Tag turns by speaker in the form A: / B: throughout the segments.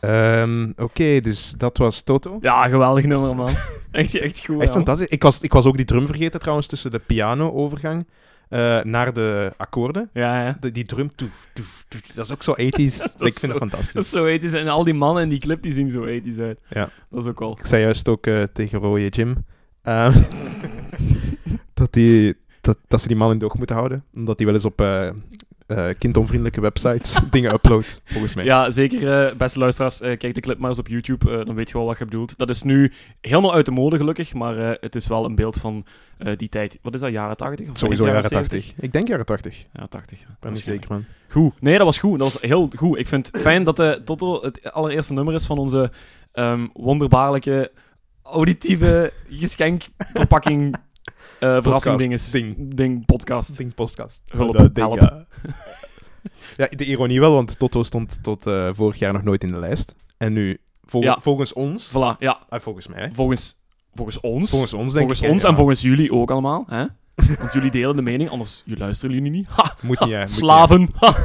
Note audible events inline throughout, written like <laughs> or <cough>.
A: Ehm, Oké, dus dat was Toto.
B: Ja, geweldig nummer, man. <laughs> Echt, echt goed.
A: Echt
B: man.
A: fantastisch. Ik was, ik was ook die drum vergeten trouwens tussen de piano-overgang eh, naar de akkoorden.
B: Ja, ja.
A: De- die drum, toef, toef, toef, dat is ook zo
B: <laughs>
A: 80s. ik vind
B: zo-
A: het
B: Dat
A: fantastisch.
B: is zo ethisch. En al die mannen in die clip die zien zo ethisch uit.
A: Ja.
B: Dat is ook al.
A: Ik zei juist ook eh, tegen Roye Jim
B: <laughs>
A: ehm, dat, die, dat, dat ze die man in doog moeten houden. Omdat hij wel eens op eh, eh, kindonvriendelijke websites <laughs> dingen uploadt, volgens mij.
B: Ja, zeker, eh, beste luisteraars. eh, kijk de clip maar eens op YouTube, eh, dan weet je wel wat je bedoelt. Dat is nu helemaal uit de mode, gelukkig. Maar eh, het is wel een beeld van eh, die tijd. Wat is dat, jaren 80? Of
A: Sowieso
B: eind
A: jaren 80. Ik denk jaren 80. Ik
B: 70? Ja, 80. ja,
A: ben niet
B: waarschijnlijk.
A: zeker van.
B: Goed. Nee, dat was goed. Dat was heel goed. Ik vind het fijn dat de Toto het allereerste nummer is van onze ehm, wonderbaarlijke, auditieve geschenkverpakking eh verrassing dinges.
A: ding.
B: Ding, podcast.
A: Ding podcast.
B: Hulp,
A: Dat ding,
B: help.
A: Ja. <laughs> Ja, de ironie wel, want Toto stond tot eh, vorig jaar nog nooit in de lijst. En nu, vol-
B: Ja.
A: volgens ons,
B: Voilà, ja.
A: ah, volgens mij,
B: Volgens, volgens ons.
A: volgens ons denk
B: volgens
A: ik,
B: ons
A: ja,
B: en volgens jullie ook allemaal.
A: <laughs>
B: Hè? Want jullie delen de mening, anders jullie luisteren jullie niet. Ha,
A: moet niet, hè, moet
B: slaven. Ha,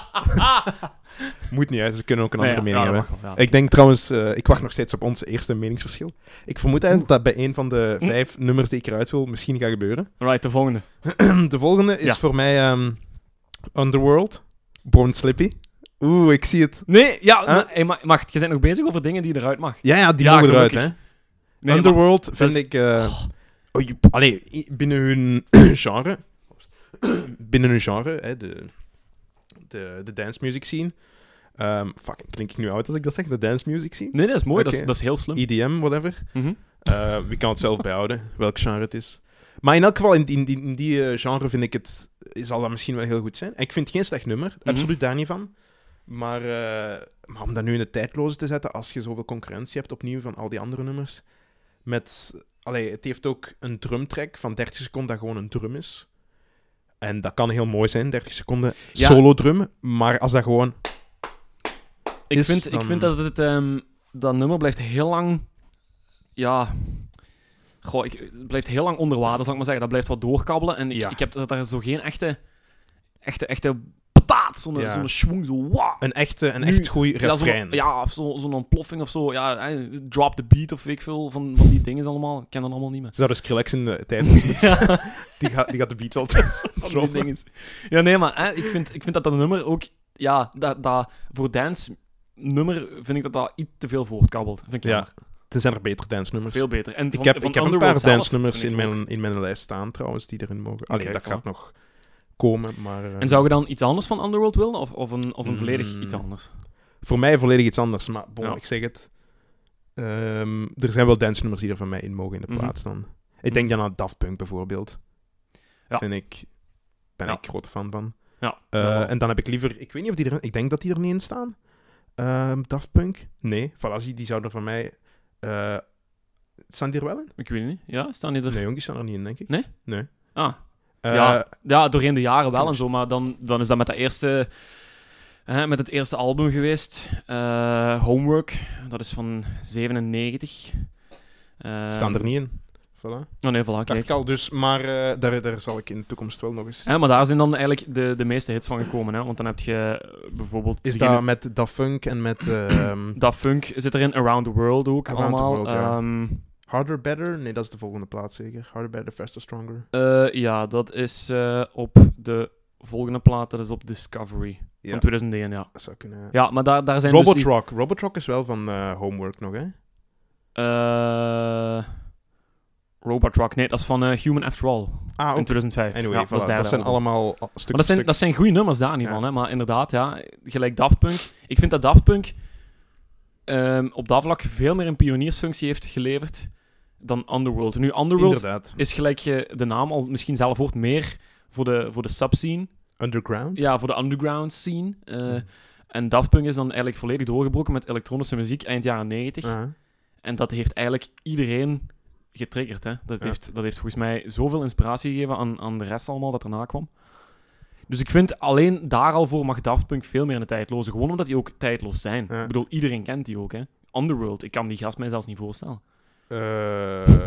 A: niet, hè. moet niet, hè. ze kunnen ook een
B: nee,
A: andere mening
B: <laughs> ja, dat
A: hebben.
B: mag wel, ja.
A: Ik denk trouwens, eh, ik wacht nog steeds op ons eerste meningsverschil. Ik vermoed eigenlijk dat bij een van de
B: Oeh.
A: vijf nummers die ik eruit wil, misschien gaat gebeuren. <clears throat>
B: Right, de volgende.
A: De volgende is
B: Ja.
A: voor mij ehm, Underworld, Born Slippy. Oeh, ik zie het.
B: Nee, ja,
A: Huh?
B: nee, ma- wacht, je bent nog bezig over dingen die eruit mag.
A: Ja, ja, die
B: Ja,
A: mogen eruit, hè.
B: gelukkig. Nee, maar-
A: Underworld vind
B: dat is-
A: ik... eh, oh, je- allee, i- binnen hun <coughs> genre... binnen hun genre, hè, de, de, de dance music scene. Ehm fuck, klink ik nu oud als ik dat zeg? De dance music scene?
B: Nee, dat is mooi, dat, is,
A: Oké.
B: dat is heel slim.
A: EDM, whatever.
B: Mhm.
A: Eh, wie kan het zelf bijhouden, welk genre het is. Maar in elk geval, in, in, in die eh, genre vind ik het, zal dat misschien wel heel goed zijn. Ik vind het geen slecht nummer,
B: Mhm.
A: absoluut daar niet van. Maar, eh, maar om dat nu in het tijdloze te zetten, als je zoveel concurrentie hebt opnieuw van al die andere nummers. Met, allee, het heeft ook een drumtrack van 30 seconden dat gewoon een drum is. En dat kan heel mooi zijn, 30 seconden
B: Ja.
A: solo drum. Maar als dat gewoon...
B: Ik,
A: is,
B: vind,
A: dan-
B: ik vind dat het... ehm, dat nummer blijft heel lang... Ja... Goh, ik, het blijft heel lang onder water, zal ik maar zeggen. Dat blijft wat doorkabbelen. En ik,
A: Ja.
B: ik heb dat- daar zo geen echte... Echte, echte pataat. Zo'n
A: Ja.
B: zo'n schwung, zo... Wow.
A: Een echte, een
B: Nu-
A: echt goeie
B: Ja, zo'n
A: refrein.
B: ja, of zo- zo'n ontploffing of zo. Ja, eh, drop the beat of weet ik veel van, van die dingen allemaal. Ik ken dat allemaal niet
A: <laughs>
B: meer.
A: Ze zouden Skrillex in de tijdloze
B: <laughs>
A: moeten zetten.
B: Ja.
A: Die gaat, die gaat de beat altijd
B: van die
A: droppen.
B: dinges. Ja, nee, maar hè, ik, vind, ik vind dat dat nummer ook... Ja, dat, dat, voor dance nummer vind ik dat dat iets te veel voortkabbelt. Vind ik
A: Ja,
B: jammer.
A: Er zijn er betere dance nummers.
B: Veel beter. En
A: ik
B: van,
A: heb,
B: van
A: ik heb een paar
B: Underworld zelf
A: dance nummers
B: vind
A: in
B: ik ook.
A: mijn, in mijn lijst staan trouwens die erin mogen. Allee,
B: Oké,
A: dat
B: voilà.
A: gaat nog komen, maar eh,
B: En zou je dan iets anders van Underworld willen? Of, of, een, of een volledig
A: Mm.
B: iets anders?
A: voor mij volledig iets anders. Maar bon,
B: Ja.
A: ik zeg het. Ehm, er zijn wel dance nummers die er van mij in mogen in de
B: Mhm.
A: plaats dan. Ik denk dan aan Daft Punk bijvoorbeeld.
B: Ja.
A: Vind ik, ben
B: Ja.
A: ik grote fan van.
B: Ja.
A: Eh,
B: Ja, wel.
A: en dan heb ik liever, ik weet niet of die er, ik denk dat die er niet in staan. Ehm, Daft Punk? Nee, Falazzi, die zou er van mij. eh, staan die er wel in?
B: Ik weet het niet. Ja, staan die er...
A: Nee, jong, die staan er niet in, denk ik.
B: Nee?
A: Nee.
B: Ah,
A: Eh,
B: ja, ja, doorheen de jaren wel en zo. Maar dan, dan is dat met, dat eerste, hè, met het eerste album geweest. Eh, Homework. Dat is van 97. Eh,
A: Staan er niet in. Voilà.
B: Oh nee, voilà,
A: Dacht
B: kijk.
A: ik al, dus, maar eh, daar, daar zal ik in de toekomst wel nog eens...
B: Ja, maar daar zijn dan eigenlijk de, de meeste hits van gekomen. Hè? Want dan heb je eh, bijvoorbeeld...
A: Is
B: degene-
A: dat met Daft Funk en met ehm, <coughs>
B: dat funk zit erin. Around the World ook
A: Around the
B: allemaal.
A: World, ja.
B: Ehm,
A: Harder, Better? Nee, dat is de volgende plaats zeker. Harder, Better, Faster, Stronger.
B: Eh, ja, dat is eh, op de volgende plaat. Dat is op Discovery
A: Ja,
B: van 2001, ja.
A: dat zou kunnen... eh.
B: Ja, maar daar, daar zijn dus die-
A: Robotrock. Robotrock is wel van eh, Homework nog, hè?
B: Eh, Robot Rock. Nee, dat is van eh, Human After All
A: Ah,
B: in
A: oké.
B: 2005.
A: Anyway,
B: ja,
A: voilà,
B: dat, is
A: dat,
B: derde
A: zijn
B: album.
A: allemaal al- stuk,
B: Maar dat zijn,
A: stuk-
B: dat zijn goede nummers daar niet
A: Ja.
B: van, hè? maar inderdaad, ja, gelijk Daft Punk. Ik vind dat Daft Punk ehm, op dat vlak veel meer een pioniersfunctie heeft geleverd dan Underworld. Nu, Underworld
A: Inderdaad.
B: is gelijk je de naam al misschien zelf hoort meer voor de, voor de subscene,
A: Underground?
B: ja, voor de underground scene. eh,
A: Mhm.
B: En Daft Punk is dan eigenlijk volledig doorgebroken met elektronische muziek eind jaren 90. <laughs>
A: Ah,
B: En dat heeft eigenlijk iedereen getriggerd. Hè? Dat,
A: Ja.
B: heeft, dat heeft volgens mij zoveel inspiratie gegeven aan, aan de rest allemaal dat erna kwam. Dus ik vind alleen daar al voor mag Daft Punk veel meer in de tijdloze. Gewoon omdat die ook tijdloos zijn.
A: Ja.
B: Ik bedoel, iedereen kent die ook. Hè? Underworld, ik kan die gast mij zelfs niet voorstellen.
A: <laughs> eh,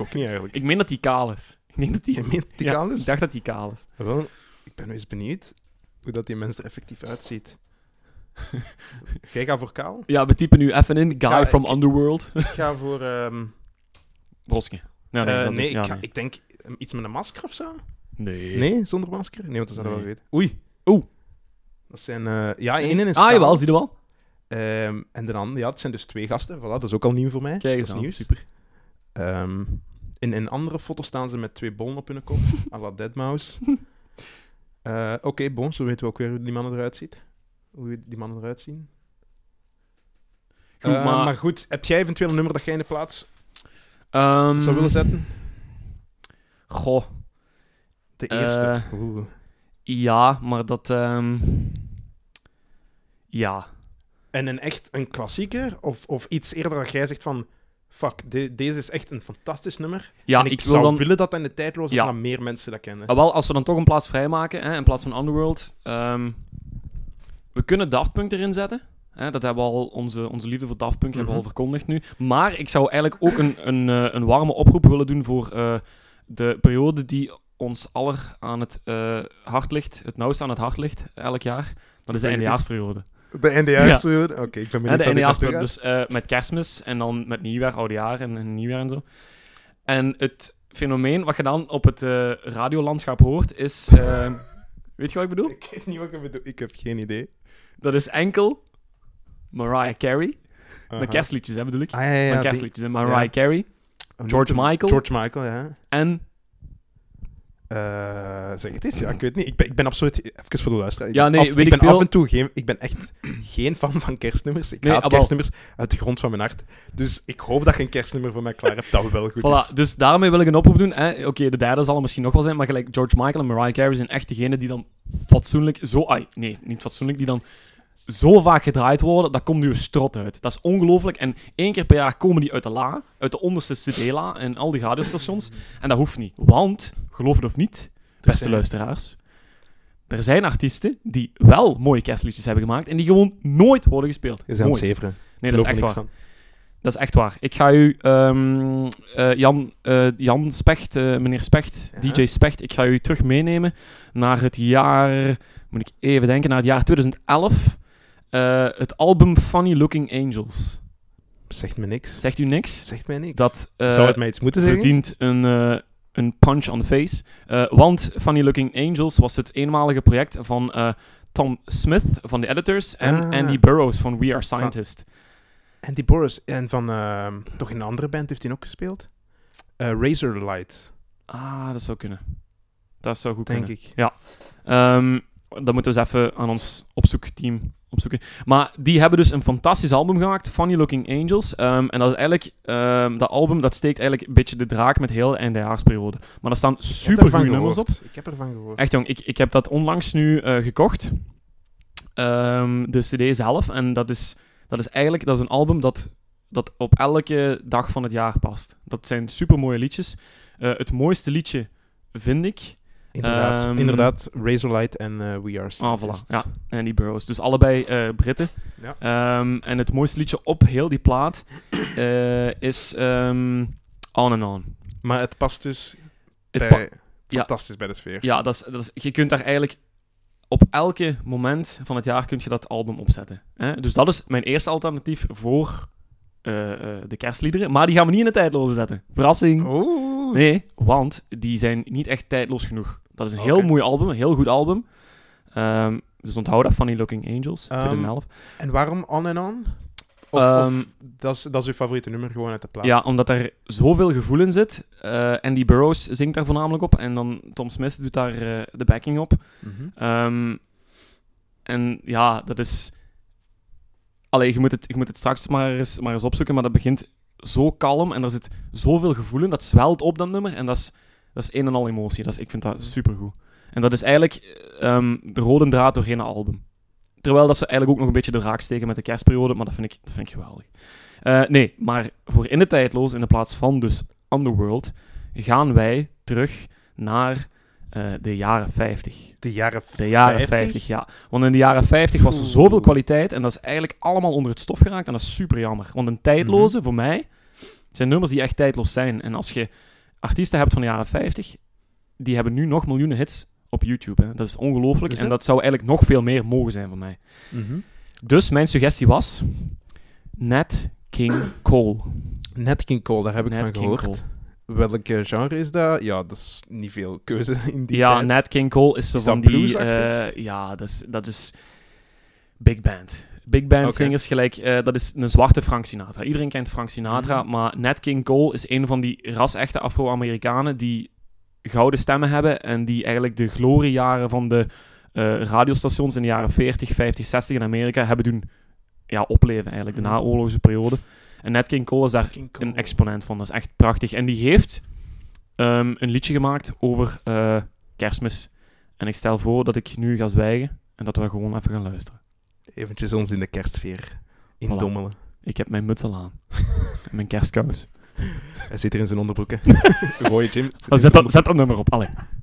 A: ook niet eigenlijk.
B: Ik meen dat die kaal is. <laughs> Ik denk dat die...
A: Je meent die
B: Ja,
A: kaal is?
B: Ik dacht dat die kaal is.
A: Wel, ik ben wel eens benieuwd hoe dat die mens er effectief uitziet. <laughs> Jij gaat voor kaal?
B: Ja, we typen nu even in. Guy
A: Ja,
B: from
A: ik-
B: Underworld. <laughs>
A: Ik ga voor... ehm,
B: Broske. Nee, nee,
A: eh,
B: dat
A: nee,
B: is, <laughs> ja,
A: ik, ga-
B: nee.
A: ik denk ehm, iets met een masker of zo?
B: Nee.
A: Nee, zonder masker? Nee, want dat zouden we wel
B: Nee.
A: weten. Oei.
B: Oeh.
A: Dat zijn... eh, ja, één is
B: Ah,
A: kaal.
B: jawel, zie je wel?
A: Ehm, en de andere, ja, het zijn dus twee gasten. Voilà, dat is ook al nieuw voor mij.
B: Kijk eens
A: dat
B: aan,
A: is nieuws.
B: super.
A: Ehm, in een andere foto staan ze met twee bollen op hun
B: <laughs>
A: kop. à la Deadmau5. Eh, Oké, bon, zo weten we ook weer hoe die mannen eruit ziet. Hoe die mannen eruit zien.
B: Goed,
A: Eh,
B: maar...
A: goed, heb jij eventueel een nummer dat jij in de plaats
B: ehm,
A: zou willen zetten?
B: Goh,
A: De
B: eh,
A: eerste. Oeh.
B: ja, maar dat... ehm, ja.
A: En een echt een klassieker? Of, of iets eerder dat jij zegt van... Fuck, de- deze is echt een fantastisch nummer.
B: Ja,
A: en
B: ik,
A: ik,
B: wil
A: zou
B: dan...
A: willen dat dat in de tijdloze
B: Ja.
A: ja. meer mensen dat kennen.
B: Ah, wel, als we dan toch een plaats vrijmaken, hè, in plaats van Underworld... ehm, we kunnen Daft Punk erin zetten. Hè, dat hebben we al... Onze, onze liefde voor Daft Punk hebben we al
A: Mhm.
B: verkondigd nu. Maar ik zou eigenlijk ook een, een, eh, een warme oproep willen doen voor eh, de periode die ons aller aan het eh, hart ligt. Het nauwst aan het hart ligt, elk jaar. Dat is de
A: Ik weet het.
B: eindejaarsperiode.
A: De NDA's. Oké, ik ben
B: Ja,
A: benieuwd wat
B: de
A: ik
B: NDA's,
A: dat doe.
B: dus eh, met kerstmis en dan met nieuwjaar, oudjaar en, en nieuwjaar en zo. En het fenomeen wat je dan op het eh, radiolandschap hoort is... eh, weet je wat ik bedoel?
A: <laughs> Ik weet niet wat ik bedoel. Ik heb geen idee.
B: Dat is enkel Mariah Carey.
A: Aha.
B: Met kerstliedjes, hè, bedoel ik.
A: Ah, ja, ja, ja,
B: Met
A: die-
B: kerstliedjes, hè. Mariah
A: ja.
B: Carey
A: Oh, niet
B: George
A: te-
B: Michael?
A: George Michael, ja.
B: en...
A: Eh, zeg het eens, ja, ik weet niet. Ik ben, ik ben absoluut... Even voor de luisteraar. ik
B: Ja,
A: ben
B: nee,
A: af,
B: weet ik
A: ben
B: veel.
A: af en toe geen... Ik ben echt <clears throat> geen fan van kerstnummers. Ik
B: Nee,
A: haat
B: ah, wel.
A: kerstnummers uit de grond van mijn hart. Dus ik hoop dat je een kerstnummer voor mij klaar hebt dat wel goed
B: Voilà,
A: is.
B: dus daarmee wil ik een oproep doen. hè. Oké, de derde zal er misschien nog wel zijn, maar gelijk George Michael en Mariah Carey zijn echt degene die dan fatsoenlijk zo... Ai, nee, niet fatsoenlijk, die dan zo vaak gedraaid worden, dat komt nu een strot uit. Dat is ongelooflijk. En één keer per jaar komen die uit de la, uit de onderste CD-la en al die radiostations. En dat hoeft niet, want, geloof het of niet, beste
A: zijn-
B: luisteraars, er zijn artiesten die wel mooie kerstliedjes hebben gemaakt en die gewoon nooit worden gespeeld.
A: Je bent aan het
B: Nooit.
A: zeveren.
B: Nee, dat is
A: Ik
B: echt
A: geloof
B: waar.
A: er niks
B: Dat is echt waar. Ik ga u, ehm, eh, Jan, eh, Jan Specht, eh, meneer Specht,
A: Ja.
B: DJ Specht, ik ga u terug meenemen naar het jaar, moet ik even denken, naar het jaar 2011. Eh, het album Funny Looking Angels.
A: van. Zegt me niks.
B: Zegt u niks?
A: Zegt mij niks.
B: Dat eh,
A: Zou het mij iets moeten zeggen?
B: verdient een, eh, een punch on the face. Eh, want Funny Looking Angels was het eenmalige project van eh, Tom Smith van de Editors en
A: Ah.
B: Andy Burroughs van We Are Scientist.
A: En die Boris. En van... ehm, toch in een andere band heeft hij ook gespeeld? Eh Razorlight,
B: Ah, dat zou kunnen. Dat zou goed kunnen.
A: denk ik.
B: Ehm dat moeten we eens even aan ons opzoekteam opzoeken. Maar die hebben dus een fantastisch album gemaakt, Funny Looking Angels. Ehm, en dat is eigenlijk, ehm, dat album dat steekt eigenlijk een beetje de draak met heel de eindejaarsperiode. Maar daar staan
A: Ik heb
B: super
A: ervan
B: goede nummers op.
A: gehoord. Ik heb ervan gehoord.
B: Echt jong, ik, ik heb dat onlangs nu eh, gekocht. Ehm, de CD zelf. En dat is, dat is eigenlijk dat is een album dat, dat op elke dag van het jaar past. Dat zijn super mooie liedjes. Eh, het mooiste liedje vind ik.
A: Inderdaad,
B: Ehm,
A: inderdaad Razorlight en eh, We Are
B: Ah, voilà.
A: Scientists.
B: Ja, en die Burroughs. Dus allebei eh, Britten.
A: Ja.
B: Ehm, en het mooiste liedje op heel die
A: <clears throat>
B: plaat eh, is ehm On and On.
A: Maar het past dus
B: Het pa-
A: bij,
B: ja.
A: fantastisch bij de sfeer.
B: ja, dat is, dat is, je kunt daar eigenlijk op elke moment van het jaar kun je dat album opzetten. Hè? Dus dat is mijn eerste alternatief voor eh, eh, de kerstliederen. Maar die gaan we niet in de tijdloze zetten. Verrassing.
A: Oh. Oeh.
B: Nee, want die zijn niet echt tijdloos genoeg. Dat is een heel
A: Oké.
B: mooi album, een heel goed album. Ehm, dus onthoud dat, Funny Looking Angels,
A: Ehm,
B: 2011.
A: En waarom On and On? Of,
B: Ehm,
A: of dat, is, dat is uw favoriete nummer gewoon uit de plaat?
B: Ja, omdat er zoveel gevoel in zit. Eh Andy Burroughs zingt daar voornamelijk op. En dan Tom Smith doet daar eh, de backing op.
A: Mhm.
B: Ehm, en ja, dat is... Allee, je moet het, je moet het straks maar eens, maar eens opzoeken. Maar dat begint zo kalm. En er zit zoveel gevoel in. Dat zwelt op, dat nummer. En dat is, dat is een en al emotie. Dat is, ik vind dat supergoed. En dat is eigenlijk ehm, de rode draad doorheen het album. Terwijl dat ze eigenlijk ook nog een beetje de draak steken met de kerstperiode. Maar dat vind ik, dat vind ik geweldig. Eh, nee, maar voor In de Tijdloos, in de plaats van dus Underworld, gaan wij terug naar eh, de jaren 50.
A: De jaren
B: De jaren 50?
A: 50?
B: ja. Want in de jaren 50 was er
A: Oeh.
B: zoveel kwaliteit en dat is eigenlijk allemaal onder het stof geraakt en dat is super jammer. Want een tijdloze,
A: Mhm.
B: voor mij, zijn nummers die echt tijdloos zijn. En als je artiesten hebt van de jaren 50, die hebben nu nog miljoenen hits op YouTube. Hè. Dat is ongelooflijk
A: Is
B: en
A: het?
B: dat zou eigenlijk nog veel meer mogen zijn voor mij.
A: Mhm.
B: Dus mijn suggestie was... Nat King Cole.
A: Net King Cole, daar heb ik
B: Nat
A: van
B: King
A: gehoord.
B: Cole.
A: Welk eh, genre is dat? Ja, dat is niet veel keuze in die
B: ja,
A: tijd.
B: Nat King Cole is zo
A: Is
B: van
A: dat
B: die...
A: bluesachtig?
B: eh, ja, dat is, dat is big band. Big band
A: Oké.
B: zingers gelijk, eh, dat is een zwarte Frank Sinatra. Iedereen kent Frank Sinatra,
A: Mhm.
B: maar Nat King Cole is een van die ras-echte Afro-Amerikanen die gouden stemmen hebben en die eigenlijk de gloriejaren van de eh, radiostations in de jaren 40, 50, 60 in Amerika hebben doen ja, opleven eigenlijk, de
A: Mhm.
B: naoorlogse periode. En Nat King Cole is daar
A: King Cole.
B: een exponent van. Dat is echt prachtig. En die heeft ehm, een liedje gemaakt over eh, kerstmis. En ik stel voor dat ik nu ga zwijgen en dat we gewoon even gaan luisteren.
A: Eventjes ons in de kerstsfeer indommelen.
B: Ik heb mijn muts al aan. en mijn kerstkous.
A: Hij zit er in zijn onderbroeken. Roy Jim.
B: <laughs> Oh, zet, dat, zet dat nummer op. Allee.